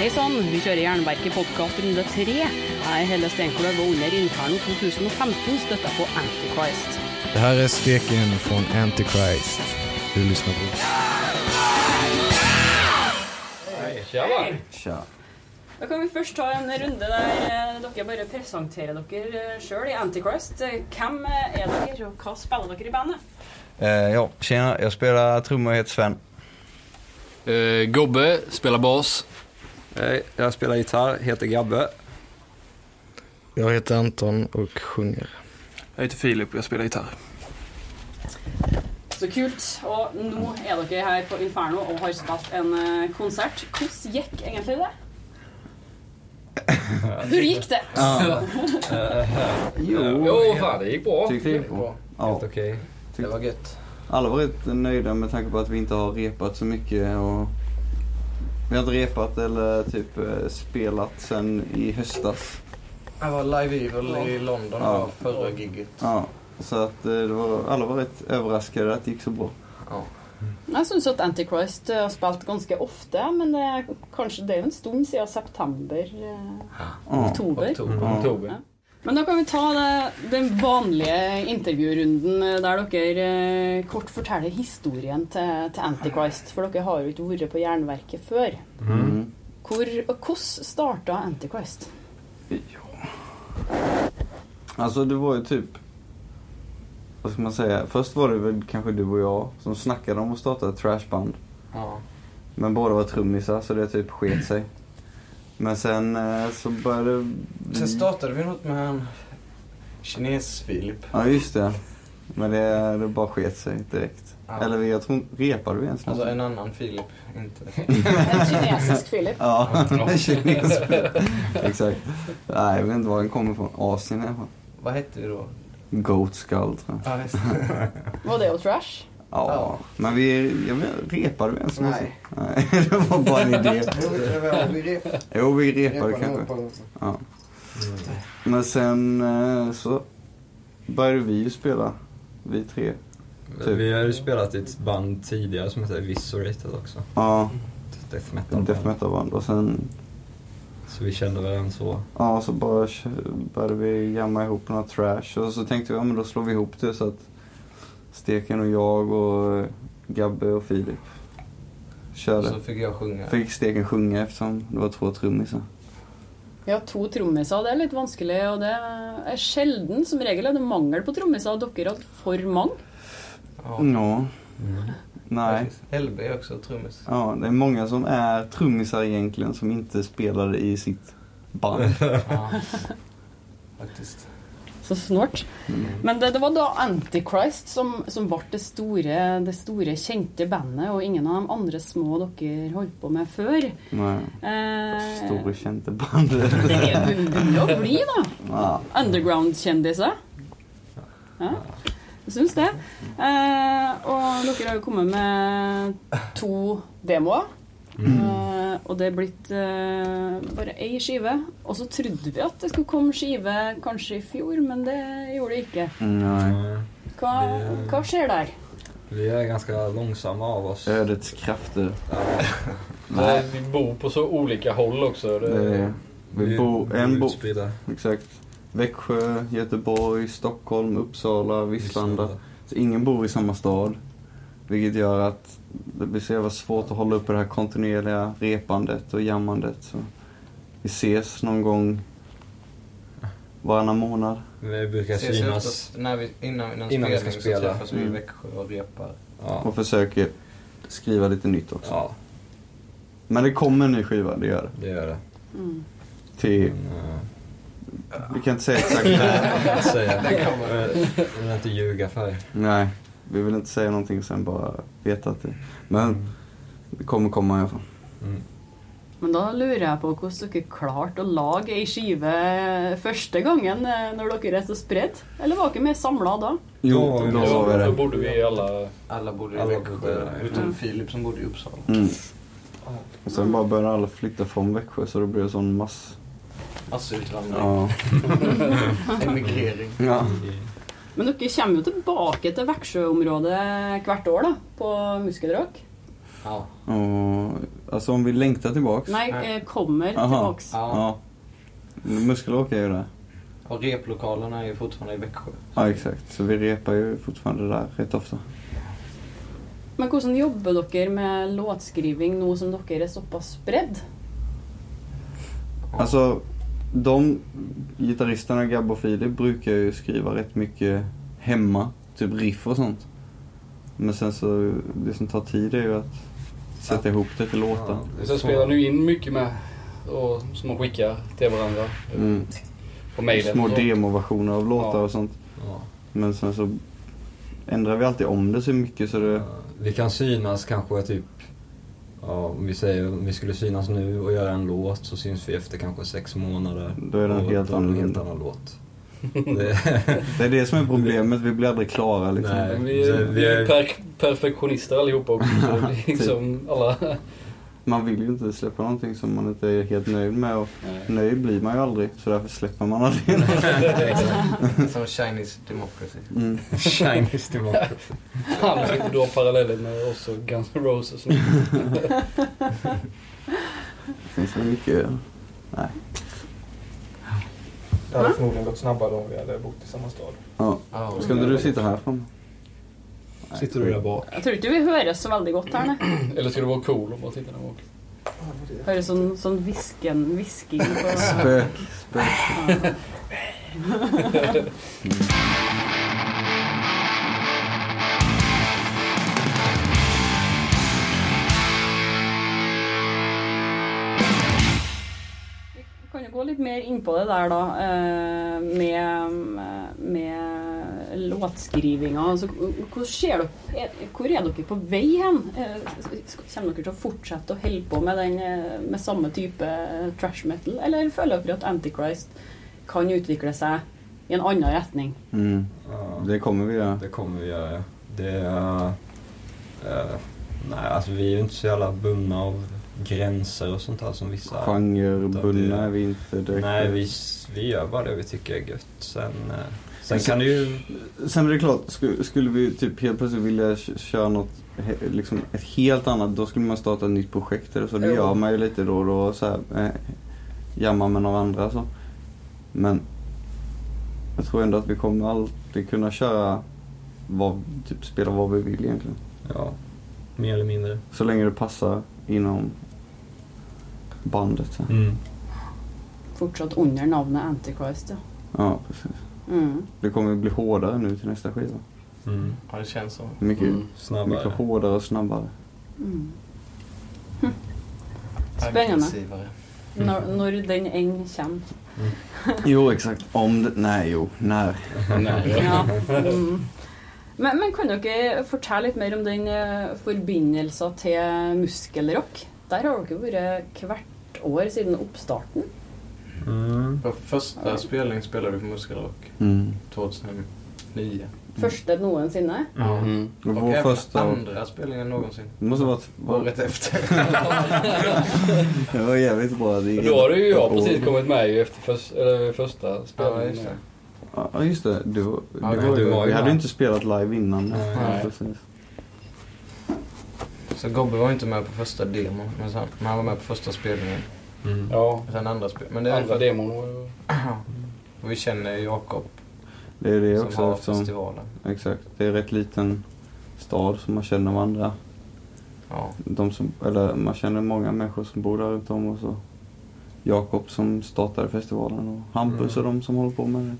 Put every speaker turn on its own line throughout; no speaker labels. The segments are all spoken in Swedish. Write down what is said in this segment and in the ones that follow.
Hei sann, vi kjører Jernverket podkast runde tre. Jeg er Helle Steinkolov og under interno 2015 støtta på Antichrist.
Det här är Steken från Antichrist. Du lyssnar på...
Da kan vi først ta en runde der eh, dere bare presenterer dere sjøl i Antichrist. Eh, Hvem eh, er dere, og hva spiller dere i bandet?
Eh, ja, tjena. Jag spelar trummor och heter Sven.
Eh, Gobbe spelar bas.
Hej, jag spelar gitarr, heter Gabbe.
Jag heter Anton och sjunger.
Jag heter Filip och jag spelar gitarr.
Så kult. Og nå er dere her på Inferno og har spilt en eh, konsert. Hvordan gikk egentlig det? Hur gikk det?
Jo,
Jo, fan det gick bra.
tyckte det gick bra. Ja,
Okej.
Det var
gött.
alla var rätt nöjda med tanke på att vi inte har repat så mycket. Och vi har inte repat eller typ eh, spelat sen i höstas.
Jag var live evil i London
Ja.
ja. förra giget.
Ja, så att eh, det var, alla var rätt överraskade att det gick så bra.
Jeg syns at Antichrist eh, har spilt ganske ofte, men det er kanskje det er jo en stund siden september, eh,
Ja.
oktober.
Ja.
Men da kan vi ta det, den vanlige intervjurunden eh, der dere eh, kort forteller historien til, til Antichrist. For dere har jo ikke vært på Jernverket før.
Mm.
Hvor, og hvordan starta Antichrist?
Alltså det var ju typ, vad ska man säga? Först var det väl kanske du och jag som snackade om att starta ett trashband.
Ja.
Men båda var trummisar så det typ sket sig. Men sen eh, så började
Sen startade vi något med han Kines-Filip.
Ja just det. Men det, det bara sket sig direkt.
Ja.
Eller vi- jag tror inte- repade vi ens
Alltså
någonting?
en annan Filip, inte...
En kinesisk Philip.
Ja, kinesisk. Exakt. Nej, jag vet inte var den kommer ifrån. Asien i alla fall.
Vad hette vi då?
Goat skull tror jag.
Ja, just
Var det jo trash?
Ja,
Ja.
men vi jag vet, repade vi ens
Nej.
någonsin? Nej. det var bara en idé.
det.
Jo, vi repade kanske. Ja. Men sen eh, så började vi ju spela, vi tre. Typ.
Vi har ju spelat i ett band tidigare som heter Visorated också.
Ja,
Ett Death
en
metal.
death metal band. Och sen
Så vi kände varandra så.
ja, så bara kö- började vi jamma ihop några trash. Och så tänkte vi, ja men då slår vi ihop det så att Steken och jag och eh, Gabbe och Filip körde.
Så fick jag sjunga.
Fick Steken sjunga eftersom det var två trummisar.
Ja, to trommiser, det er litt vanskelig, og det er sjelden. Som regel er det mangel på trommiser, og dere har hatt for mange.
Ja.
Ja.
Mm,
Mm.
Nej.
Precis. LB är också trummis.
Ja, det är många som är trummisar egentligen som inte spelade i sitt band.
Ja. Faktiskt.
Så snålt. Men det, det var da Antichrist som, som ble det store, det store, kjente bandet, og ingen av de andre små dere holdt på med før.
Nej.
Eh,
Store kända band.
Det er- begynner å bli, da.
ja.
Underground-kjendiser. Ja, jeg syns det. Eh, og dere har jo kommet med to demoer.
Mm.
Mm.
Eh, og det er blitt eh, bare ei skive. Og så trodde vi at det skulle komme skive kanskje i fjor, men det gjorde det ikke.
Nej.
Hva, hva skjer der?
Vi är ganska långsamma av oss.
Ödets krafter.
Ja,
Nej.
Vi bor på så olika håll också. Det,
Det är, vi bor, en bor,
utspridda.
exakt. Växjö, Göteborg, Stockholm, Uppsala, Vislanda. Så ingen bor i samma stad. Vilket gör att det blir så jävla svårt att hålla uppe det här kontinuerliga repandet och jammandet. Så vi ses någon gång varannan månad.
Vi brukar
Ses
synas.
oftast när vi, innan, innan,
Innan vi ska
spelning
spela.
så träffas vi i
Mm.
Växjö och repar.
Ja.
Och försöker skriva lite nytt också.
ja,
Men det kommer en ny skiva, det gör det.
det gör det.
Mm.
Till,
Men, eh,
vi kan inte säga exakt när.
jag kan inte säga. Jag vill inte ljuga för er.
Nej, vi vill inte säga någonting sen bara veta att det... Men det kommer komma i alla fall.
Mm.
Men da lurer jeg på hvordan dere klarte å lage ei skive første gangen eh, når dere er så spredt? Eller var dere mer samla da?
Jo,
Då-
då var vi
Då
det.
borde vi alla...
Alla bodde i
Alla
Växjö,
bodde där.
utom
Mm.
Filip som bodde i Uppsala.
Mm. Och sen bara började alla flytta från Växjö så då blev det sån mass...
Massutvandring.
Ja.
Emigrering.
ja.
Men dere kommer jo tilbake til Veksjø-området hvert år da, på Muskelrock.
Ja.
Och Alltså om vi längtar tillbaks?
Nej, eh, kommer tillbaks.
Ja. Muskelåk är ju där.
Och replokalerna är ju fortfarande i Växjö.
Ja, exakt. Så vi repar ju fortfarande där rätt ofta.
Men hvordan jobber dere med låtskriving nå som dere er såpass spredd?
Alltså, de gitarristerna, Gabbe och Filip, brukar ju skriva rätt mycket hemma. Typ riff och sånt. Men sen så, det som tar tid är ju att sätta ihop det till låtar.
Och sen spelar du in mycket med och, som man skickar till varandra. eh,
Mm.
På mejlen.
Små
och så.
demoversioner av låtar
Ja.
och sånt.
Ja.
Men sen så ändrar vi alltid om det så mycket så det...
Ja, Vi kan synas kanske typ, ja, om vi säger om vi skulle synas nu och göra en låt så syns vi efter kanske sex månader.
Då är det en
Och
helt
då är det en helt
annorlunda.
annan låt. Det,
Det är det som är problemet, vi blir aldrig klara liksom.
Nej.
Men Vi är, vi
Så vi
är
är-
per, perfektionister allihopa också. Så det blir
Typ.
liksom alla...
Man vill ju inte släppa någonting som man inte är helt nöjd med och nöjd blir man ju aldrig så därför släpper man aldrig.
Som Chinese Democracy.
Mm.
Chinese tillbaka.
Han ska dra parallellen med oss och Guns N' Roses.
Finns det mycket... Nej.
Det hade förmodligen gått snabbare om vi hade bott i samma stad.
Ja.
Ja.
Ska inte du sitta här framme?
Sitter du där bak?
Jeg tror ikke vi høres så veldig godt her, nei.
Eller ska du vara cool och bara titta där bak?
Høres sånn, sånn visken, visking på
Spök. Spök.
Vi kan jo gå litt mer inn på det der, da, eh, med, med låtskrivinga. Altså, hvor, ser dere, er- hvor er dere på vei hen? Eh, Kommer dere til å fortsette å holde på med, den, eh, med samme type trash metal, eller føler dere at Antichrist kan utvikle seg i en annen retning?
Mm.
Ja.
Det kommer vi göra.
Det kommer vi göra. Det är... eh, nej, alltså vi är ju inte så jävla bundna av gränser och sånt här som vissa är.
Genrebundna är vi inte direkt.
Nej, vi, vi gör bara det vi tycker är gött. Sen, eh, sen kan det ju...
Sen är det klart, sku- skulle vi typ helt plötsligt vilja k- köra något, he- liksom ett helt annat, då skulle man starta ett nytt projekt eller så. Det
Jo.
gör man ju lite då och då så här, eh, jammar med några andra så. Men jag tror ändå att vi kommer alltid kunna köra, vad, typ spela vad vi vill egentligen.
Ja, mer eller mindre.
Så länge det passar inom bandet. Så.
Mm.
Fortsatt under navnet Antichrist, ja.
Ja, precis.
Mm.
Det kommer bli hårdare nu till nästa skiva.
Mm.
Ja, det känns så.
Mycket,
Mm.
mycket
Snabbare.
hårdare och snabbare.
Mm. Hm. Spännande.
Aggressivare.
Når, når den enn kommer.
Jo, exakt. Om det... Nej, jo. När.
Ja. Mm. Men, men kan dere fortelle litt mer om den eh, forbindelsen til muskelrock? Der har dere vært hvert år siden oppstarten.
Mm.
På första spelningen spelade vi på Muskelrock 2009.
Første noensinne.
Mm.
Och
Och
vår
även
första...
andra spelningen någonsin.
Det måste varit... Var...
Året efter.
Det var jävligt bra. Det gick
Då har
ett-
ju jag
ett år.
precis kommit med ju efter förs- eller första
Ja, just
spelningen.
det.
Ja, just det. Du, du,
Ja,
var,
du
ju-
var ju
Vi hade
där.
ju inte spelat live innan.
Nej.
Ja, precis.
Så Gobbe var inte med på första demon, men, sen, men han var med på första spelningen.
Mm.
ja.
Och sen andra spel. Men det är för
Andra
att
demon och...
och vi känner Jakob
Det är det
som
också
har
eftersom...
festivalen.
Exakt. Det är rätt liten stad som man känner varandra.
Ja.
De som, eller man känner många människor som bor där runt om och så. Jakob som startade festivalen och Hampus
Mm.
och de som håller på med det.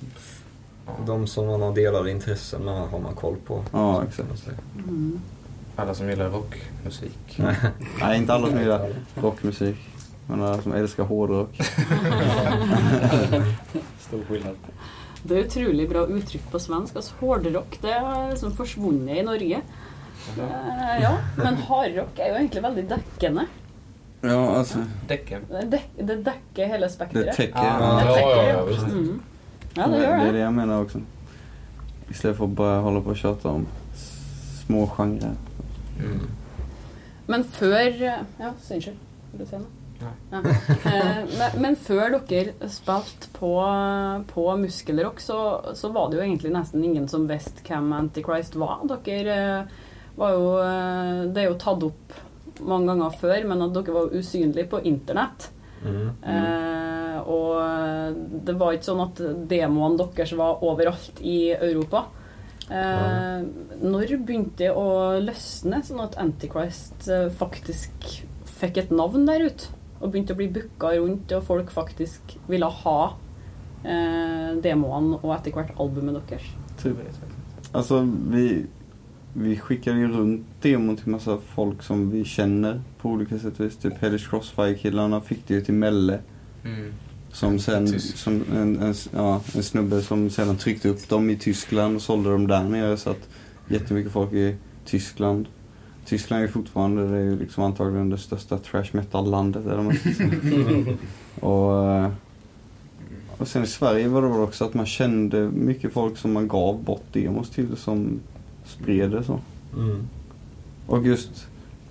De som man har delade intressen med har man koll på.
Ja, exakt.
Mm.
Alla som gillar rockmusik.
Mm. Nej, inte alla som gillar rockmusik. Men alla som älskar hårdrock.
Stor skillnad.
Det er utrolig bra uttrykk på svensk. Altså, Hårdrock det er liksom forsvunnet i Norge. Eh, ja, Men hardrock er jo egentlig veldig dekkende.
Ja, alltså.
Däcken.
Det, dek det dekker hele
Det
spekteret.
täcker.
Ja.
Det
Ja,
dekker,
ja, ja, visst.
Mm. ja,
det,
det gjør
är
det.
det jag menar också. Istället för att bara hålla på och tjata om s- små genrer.
Mm.
Men før Ja, unnskyld. Vil du si noe?
Nei.
Ja. Eh, Men, men før dere spilte på, på Muskelrock, så, så var det jo egentlig nesten ingen som visste hvem Antichrist var. Dere eh, var jo eh, Det er jo tatt opp mange ganger før, men at dere var usynlige på internett.
Mm.
Mm.
Eh, og det var ikke sånn at demoene deres var overalt i Europa. Eh, når begynte det å løsne, sånn at Antichrist eh, faktisk fikk et navn der ute? Og begynte å bli booka rundt, og folk faktisk ville ha eh, demoene och etter hvert albumet deres.
Typ. Alltså vi, vi skickade ju runt demon till massa folk som vi känner på olika sätt och vis. Typ Hellish Crossfire-killarna fick det ju till Melle.
Mm.
Som sen,
Tysk.
som en, en, ja, en snubbe som sedan tryckte upp dem i Tyskland och sålde dem där nere. Så att jättemycket folk i Tyskland. Tyskland är ju fortfarande det är ju liksom antagligen det största trash metal-landet. Eller vad man ska säga. och, eh, och sen i Sverige var det väl också att man kände mycket folk som man gav bort demos till som spred det så.
Mm.
Och just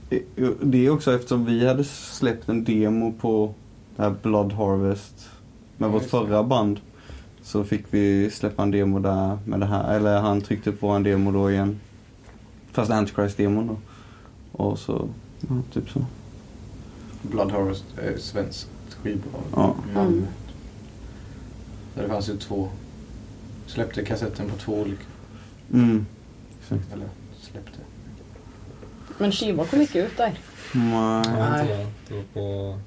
eh, det är också eftersom vi hade släppt en demo på det här Blood Harvest med
Ja,
vårt
just det.
förra band. Så fick vi släppa en demo där med det här. Eller han tryckte upp våran demo då igen. Fast Antichrist-demon då. Och så, ja, typ så.
Blood Harvest är svenskt skivbolag.
Ja.
i Malmö.
Mm.
Där det fanns ju två. Släppte kassetten på två olika.
Mm.
Eller släppte.
Men skiva kom ikke ut der.
Nej.
Ja, det var- det var på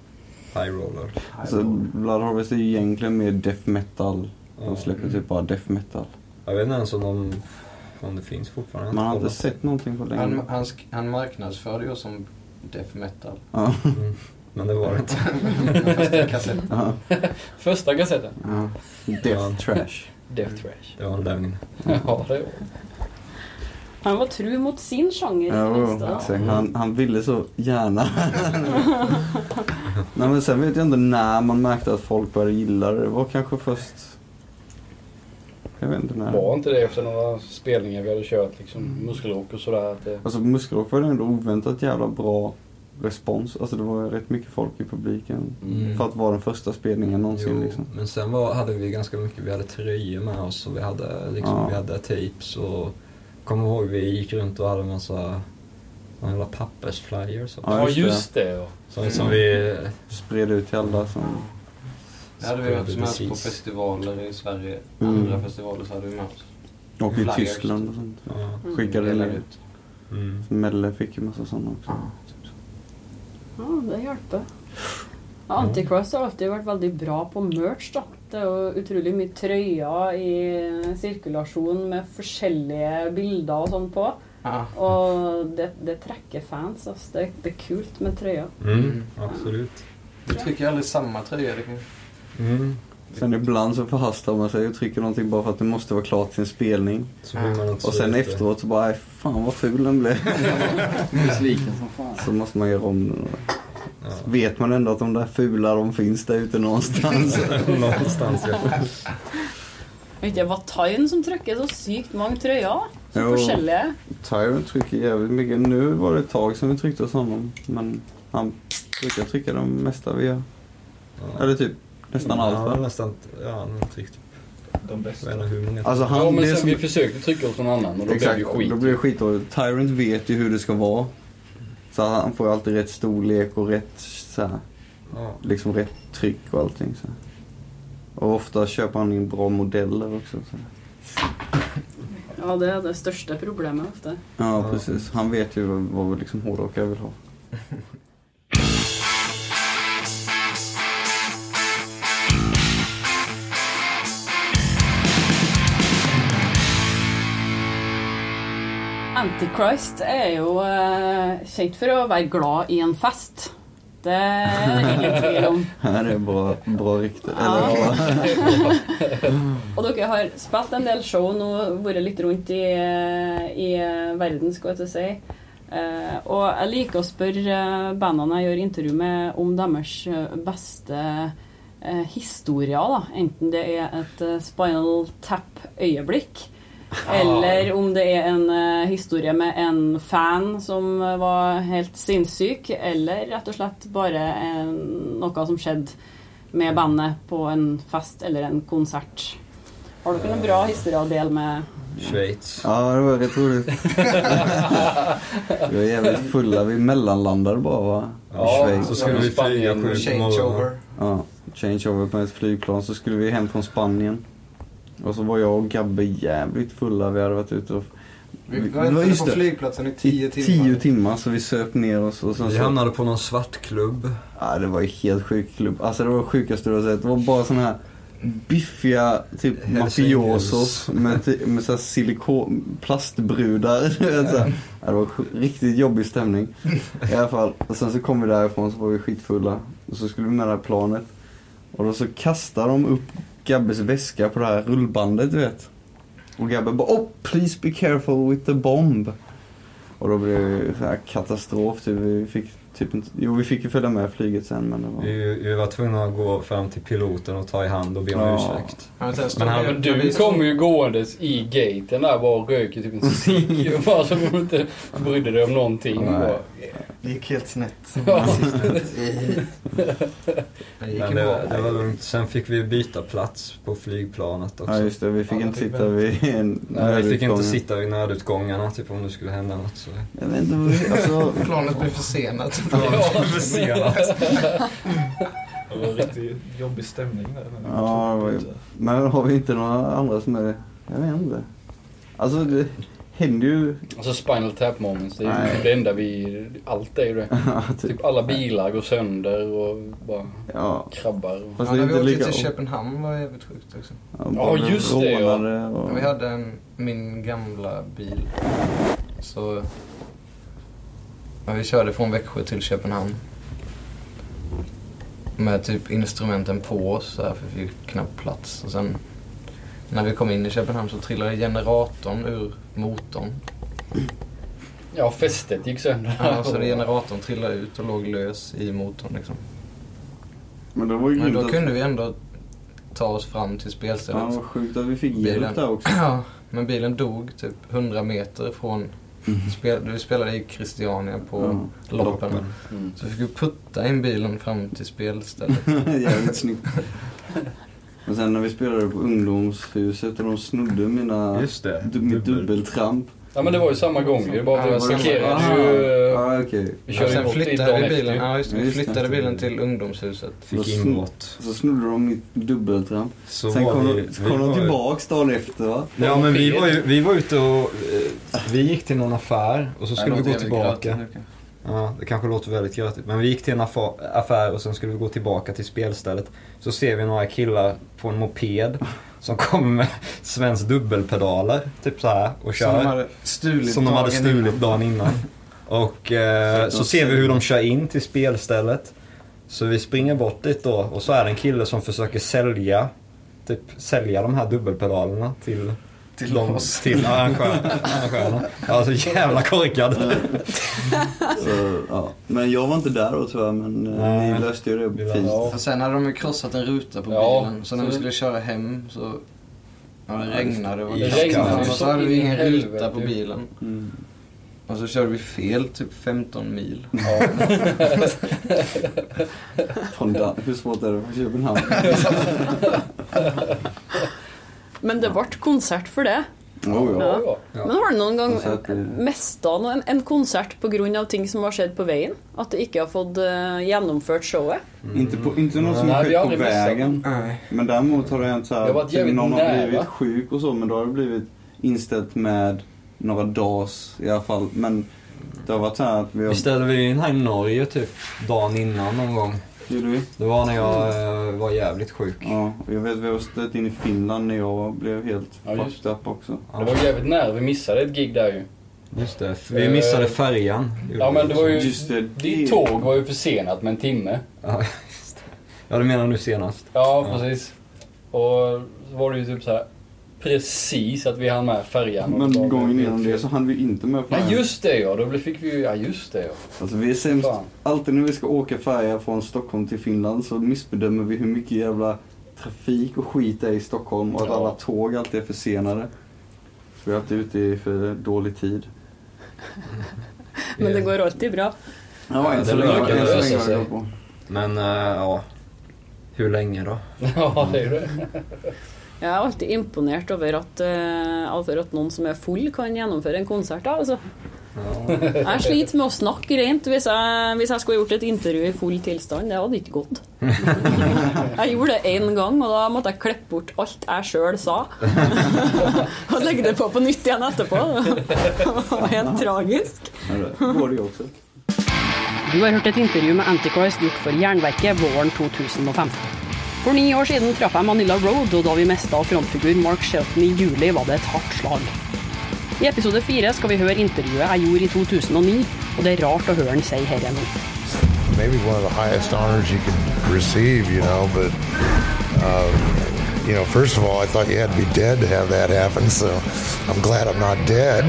High Roller.
Alltså, Blood Harvest är ju egentligen mer death metal.
Ja.
De släpper typ bara death metal.
Jag vet inte ens om, de, om det finns fortfarande.
Man har inte
Kolla.
sett någonting på länge.
Han, han, sk- han marknadsförde ju oss som death metal.
Ja.
Mm. Men det var det inte.
Den första kassetten.
Ja.
Första kassetten.
Ja. Death trash.
Death Trash.
Det var en lögn.
Ja, det var
Han var tro mot sin sjanger. i det
Jo,
meste, da.
oh, exakt. Han, han ville så gärna. Nej, men sen vet jag inte när man märkte att folk började gilla det. Det var kanske först... Jag vet inte när.
Var inte det efter några spelningar vi hade kört,
Mm.
liksom muskelrock och sådär? Att det...
Alltså på Muskelrock var det ändå oväntat jävla bra respons. Alltså det var rätt mycket folk i publiken.
Mm.
För att vara den första spelningen någonsin
Jo,
liksom.
men sen var, hade vi ganska mycket, vi hade tröjor med oss och vi hade, liksom,
Ja.
vi hade tapes och kommer ihåg vi gick runt och hade en massa såna jävla pappersflyers och,
Ja, Mm.
Ja,
just det.
just det. ja.
som, som vi
Spred ut till alla som...
Det hade vi haft
spelade
med oss på
precis.
festivaler i Sverige.
Mm.
Andra festivaler så hade vi med oss.
Och i
Flyers.
Tyskland och sånt.
Ja.
Mm.
Skickade
Delade
ner.
ut.
Mm.
Melle fick ju massa sådana också.
Ja, det hjelper. Ja, Antichrist har alltid vært veldig bra på merch. da. Det er jo utrolig mye trøyer i sirkulasjon med forskjellige bilder og sånn på.
Ja.
Og det, det trekker fans. ass. Det, det er kult med trøyer.
Mm, absolut.
Vi trycker aldrig samma tröja. Det kan...
Mm.
Sen ibland så förhastar man sig och trycker någonting bara för att det måste vara klart till en spelning.
Så blir man inte
Och
så
sen
jätte-
efteråt så bara, "Aj, fan vad ful den blev.
Besviken som fan.
Så måste man göra om den.
Ja.
Så vet man ändå att de där fula, de finns där ute någonstans.
Någonstans ja.
Vet ikke, Var Tyne som trykker så sykt mange trøyer? Så
Jo.
forskjellige.
Tyron trycker jävligt mycket. Nu var det ett tag sedan vi tryckte hos honom. Men han brukar trycka de mesta vi gör.
ja.
Eller typ nästan allt.
Ja,
va?
nästan, ja, han tryckte
De
jag
bästa.
vet inte hur många.
Alltså han,
ja, men
det
sen
som,
vi försökte trycka hos någon annan och då blev
exakt,
det ju skit.
då blir det skit. Och Tyrant vet ju hur det ska vara. Så han får alltid rätt storlek och rätt så här,
ja.
liksom rätt tryck och allting. Så. Och ofta köper han in bra modeller också. Så.
Ja, det er det største problemet ofte.
Ja,
Ja.
precis. Han vet ju vad, vad liksom hårdrockare vill ha.
Antichrist er jo eh, kjent for å være glad i en fest. Det er det ingen tvil om.
Här är bra, bra rykte.
Ja.
Eller bra.
Og dere har spilt en del show nå, vært litt rundt i, i verden, skal jeg til å si. Eh, og jeg liker å spørre eh, bandene jeg gjør intervju med, om deres eh, beste eh, historier. da. Enten det er et eh, Spinal Tap-øyeblikk, eller om det er en eh, historie med en fan som eh, var helt sinnssyk, eller rett og slett bare en, noe som skjedde med bandet på en fest eller en konsert. Har dere noen bra historier å dele med
Schweiz.
Ja, det var rätt roligt. vi var jävligt fulla. Vi mellanlandade bara va? I
Ja,
Schweiz.
så skulle vi flyga sju på morgonen.
Changeover.
Ja, changeover på ett flygplan. Så skulle vi hem från Spanien. Och så var jag och Gabbe jävligt fulla. Vi hade varit ute och...
Vi
Det var
väntade
Mm. just
på
det.
flygplatsen i tio timmar.
Tio timmar, så vi söp ner oss och sen
Vi
så...
hamnade på någon svartklubb.
Ja, det var ju helt sjuk klubb. Alltså det var det sjukaste du har sett. Det var bara såna här biffiga typ
Helsingels.
mafiosos med, ty- med så här silikon, plastbrudar. du vet så här. ja, det var sj- riktigt jobbig stämning. I alla fall, och sen så kom vi därifrån så var vi skitfulla. Och så skulle vi med det här planet. Och då så kastar de upp Gabbes väska på det här rullbandet du vet. Och Gabbe bara oh please be careful with the bomb. Och då blev det så här katastrof typ. Vi fick typ inte, jo vi fick ju följa med flyget sen men det var...
Vi, vi var tvungna att gå fram till piloten och ta i hand och be om
Ja.
ursäkt.
Ja, men sen stod
Men han-
vi-
Men du kommer ju gåendes i gaten där bara och röker typ en cigg. och Bara som om du inte brydde dig om någonting.
Nej.
Bara.
Det gick helt snett.
Ja.
Det gick
Men
ju
det, det var
bra.
lugnt. Sen fick vi byta plats på flygplanet också.
Ja just det, vi fick
Ja,
inte
det fick
sitta vid en
Nej, vi fick inte
nödutgång.
sitta vid nödutgångarna typ om det skulle hända något. Så.
Jag vet inte, vad- alltså,
Planet blev försenat.
Försenat.
Det var en riktigt jobbig stämning där. Men
Ja, det var ju- men har vi inte några andra som är... Jag vet inte. Alltså det händer ju...
Alltså spinal tap moments. Det är
Nej.
ju det enda vi... Allt är ju det. Typ alla bilar går sönder och bara
Ja.
krabbar. Och...
Fast det är
ja, när vi
inte
åkte
lika...
till Köpenhamn var det jävligt sjukt också.
Ja, just det, ja.
rånade Och...
Vi hade en, min gamla bil. Så... Ja, vi körde från Växjö till Köpenhamn. Med typ instrumenten på oss så här, för vi fick knappt plats. Och sen när vi kom in i Köpenhamn så trillade generatorn ur motorn.
Ja, fästet gick sönder.
Ja, så generatorn trillade ut och låg lös i motorn liksom.
Men det var ju
Men
grymt
då
att...
kunde vi ändå ta oss fram till
Ja,
spelstället.
vad sjukt att vi fick
Bilen.
hjälp där också.
Ja, men bilen dog typ 100 meter från... Spel, vi spelade i Christiania på
Ja,
loppen.
loppen.
Mm.
Så fick vi putta in bilen fram till spelstället.
Jävligt snyggt. Men sen när vi spelade på ungdomshuset och de snodde mina...
Just det.
du- Mitt dubbeltramp.
Ja, men det var ju samma gång ju. Det var bara
Ja,
att vi
det var samma-
parkerade
Ah,
ju... eh,
Ja, okej.
Vi
Och
körde ju
sen
bort dit
flyttade
dagen
vi
efter
bilen,
ju.
ja, just, det, vi
Just det.
flyttade bilen till ungdomshuset.
Fick inbrott.
Så snodde de mitt dubbeltramp.
Så
Sen
var
kom,
vi,
de, så kom
vi var
de
ju-
tillbaks dagen efter va?
Ja men vi var ju vi var ute och... eh,
Ah.
Vi gick till någon affär och så skulle vi gå tillbaka. Ja, det kanske låter väldigt grötigt. Men vi gick till en affa- affär och sen skulle vi gå tillbaka till spelstället. Så ser vi några killar på en moped som kommer med Svens dubbelpedaler. Typ så här och
Som de
kör.
hade stulit
Som de hade
dagen
stulit
innan.
dagen innan. Och eh, så ser vi hur de kör in till spelstället. Så vi springer bort dit då och så är det en kille som försöker sälja Typ sälja de här dubbelpedalerna till
Till
de,
oss.
Till arrangör- arrangörerna. Ja, så jävla korkad.
Så, ja. Men jag var inte där då tyvärr men eh,
Nej.
ni löste ju
Vi
det
var-
fint.
ja.
Och sen hade de ju krossat en ruta på
Ja,
bilen. Så när
så
vi
det-
skulle köra hem så... Ja, det regnade. och
Det
kallt.
regnade
Och
så
så hade vi
in i
ingen ruta
helvete.
på bilen.
Mm.
Och så körde vi fel typ 15 mil.
Från Dan- Hur svårt är det från Köpenhamn?
Men det ble konsert for det.
Oh, ja.
Ja, ja.
Ja.
Men har du noen
Konsert
gang
blir-
mista en, en konsert pga. ting som har skjedd på veien? At det ikke har fått eh, gjennomført showet?
Mm. Inte, på, inte något som
Nej,
har skett
vi har
på
aldrig missat.
vägen.
Nej.
Men däremot har det hänt så
Det har
här,
varit
typ
jävligt
någon har
nära.
blivit sjuk och så men då har det blivit inställt med några dags i alla fall. Men det har varit så här att vi har...
Vi ställde vi in här i Norge typ dagen innan någon gång.
Gjorde vi?
Det var när jag eh, var jävligt sjuk.
Ja, och jag vet vi har stött in i Finland när jag blev helt
Ja, just
fucked up också.
Det var ju jävligt nära. Vi missade ett gig där ju.
Just det, vi missade färjan.
Ja, men det var ju...
Just det,
Ditt
det-
tåg var ju försenat med en timme.
Ja, just det. Ja, du menar nu senast.
Ja,
Ja.
precis. Och så var det ju typ så här precis att vi hann med färjan. och så var
Men
det
gången
helt
innan det
fel.
så hann vi inte med färjan.
Ja, just det ja. Då fick vi ju... Ja, just det ja.
Alltså vi är sämst.
Fan.
Alltid när vi ska åka färja från Stockholm till Finland så missbedömer vi hur mycket jävla trafik och skit det är i Stockholm och att
Ja.
alla tåg alltid är försenade. Så vi är alltid ute i för dålig tid.
Men det går alltid bra.
Ja,
än
än
så
så
det länge-
länge
brukar än så lösa länge har
har
sig.
jag
jag
på.
Men eh, ja, hur länge då?
Ja, det är ju det.
Jeg er alltid imponert over at, eh, over at noen som er full, kan gjennomføre en konsert. Da, altså. Jeg sliter med å snakke rent hvis jeg, hvis jeg skulle gjort et intervju i full tilstand. Det hadde ikke gått. Jeg gjorde det én gang, og da måtte jeg klippe bort alt jeg sjøl sa. Og legge det på på nytt igjen etterpå. Det var helt tragisk.
Det går det ju också.
Du har hørt et intervju med Antichrist gjort for Jernverket våren 2015. For ni år siden traff jeg Manila Road, og da vi mista frontfigur Mark Shelton i juli, var det et hardt slag. I episode fire skal vi høre intervjuet jeg gjorde i 2009, og det er rart å høre han si herre nå.
maybe one of the highest honors you can receive, you know, but, um, you know, first of all, I thought you had to be dead to have that happen, so I'm glad I'm not dead.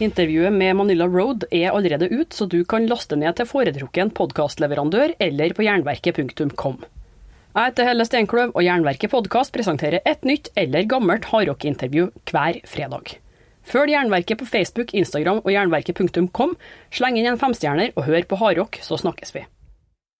Intervjuet med Manila Road er allerede ut, så du kan laste ned til foretrukken podkastleverandør eller på jernverket.com. Jeg heter Helle Steinkløv, og Jernverket podkast presenterer et nytt eller gammelt hardrockintervju hver fredag. Følg Jernverket på Facebook, Instagram og jernverket.com. Sleng inn en femstjerner og hør på hardrock, så snakkes vi.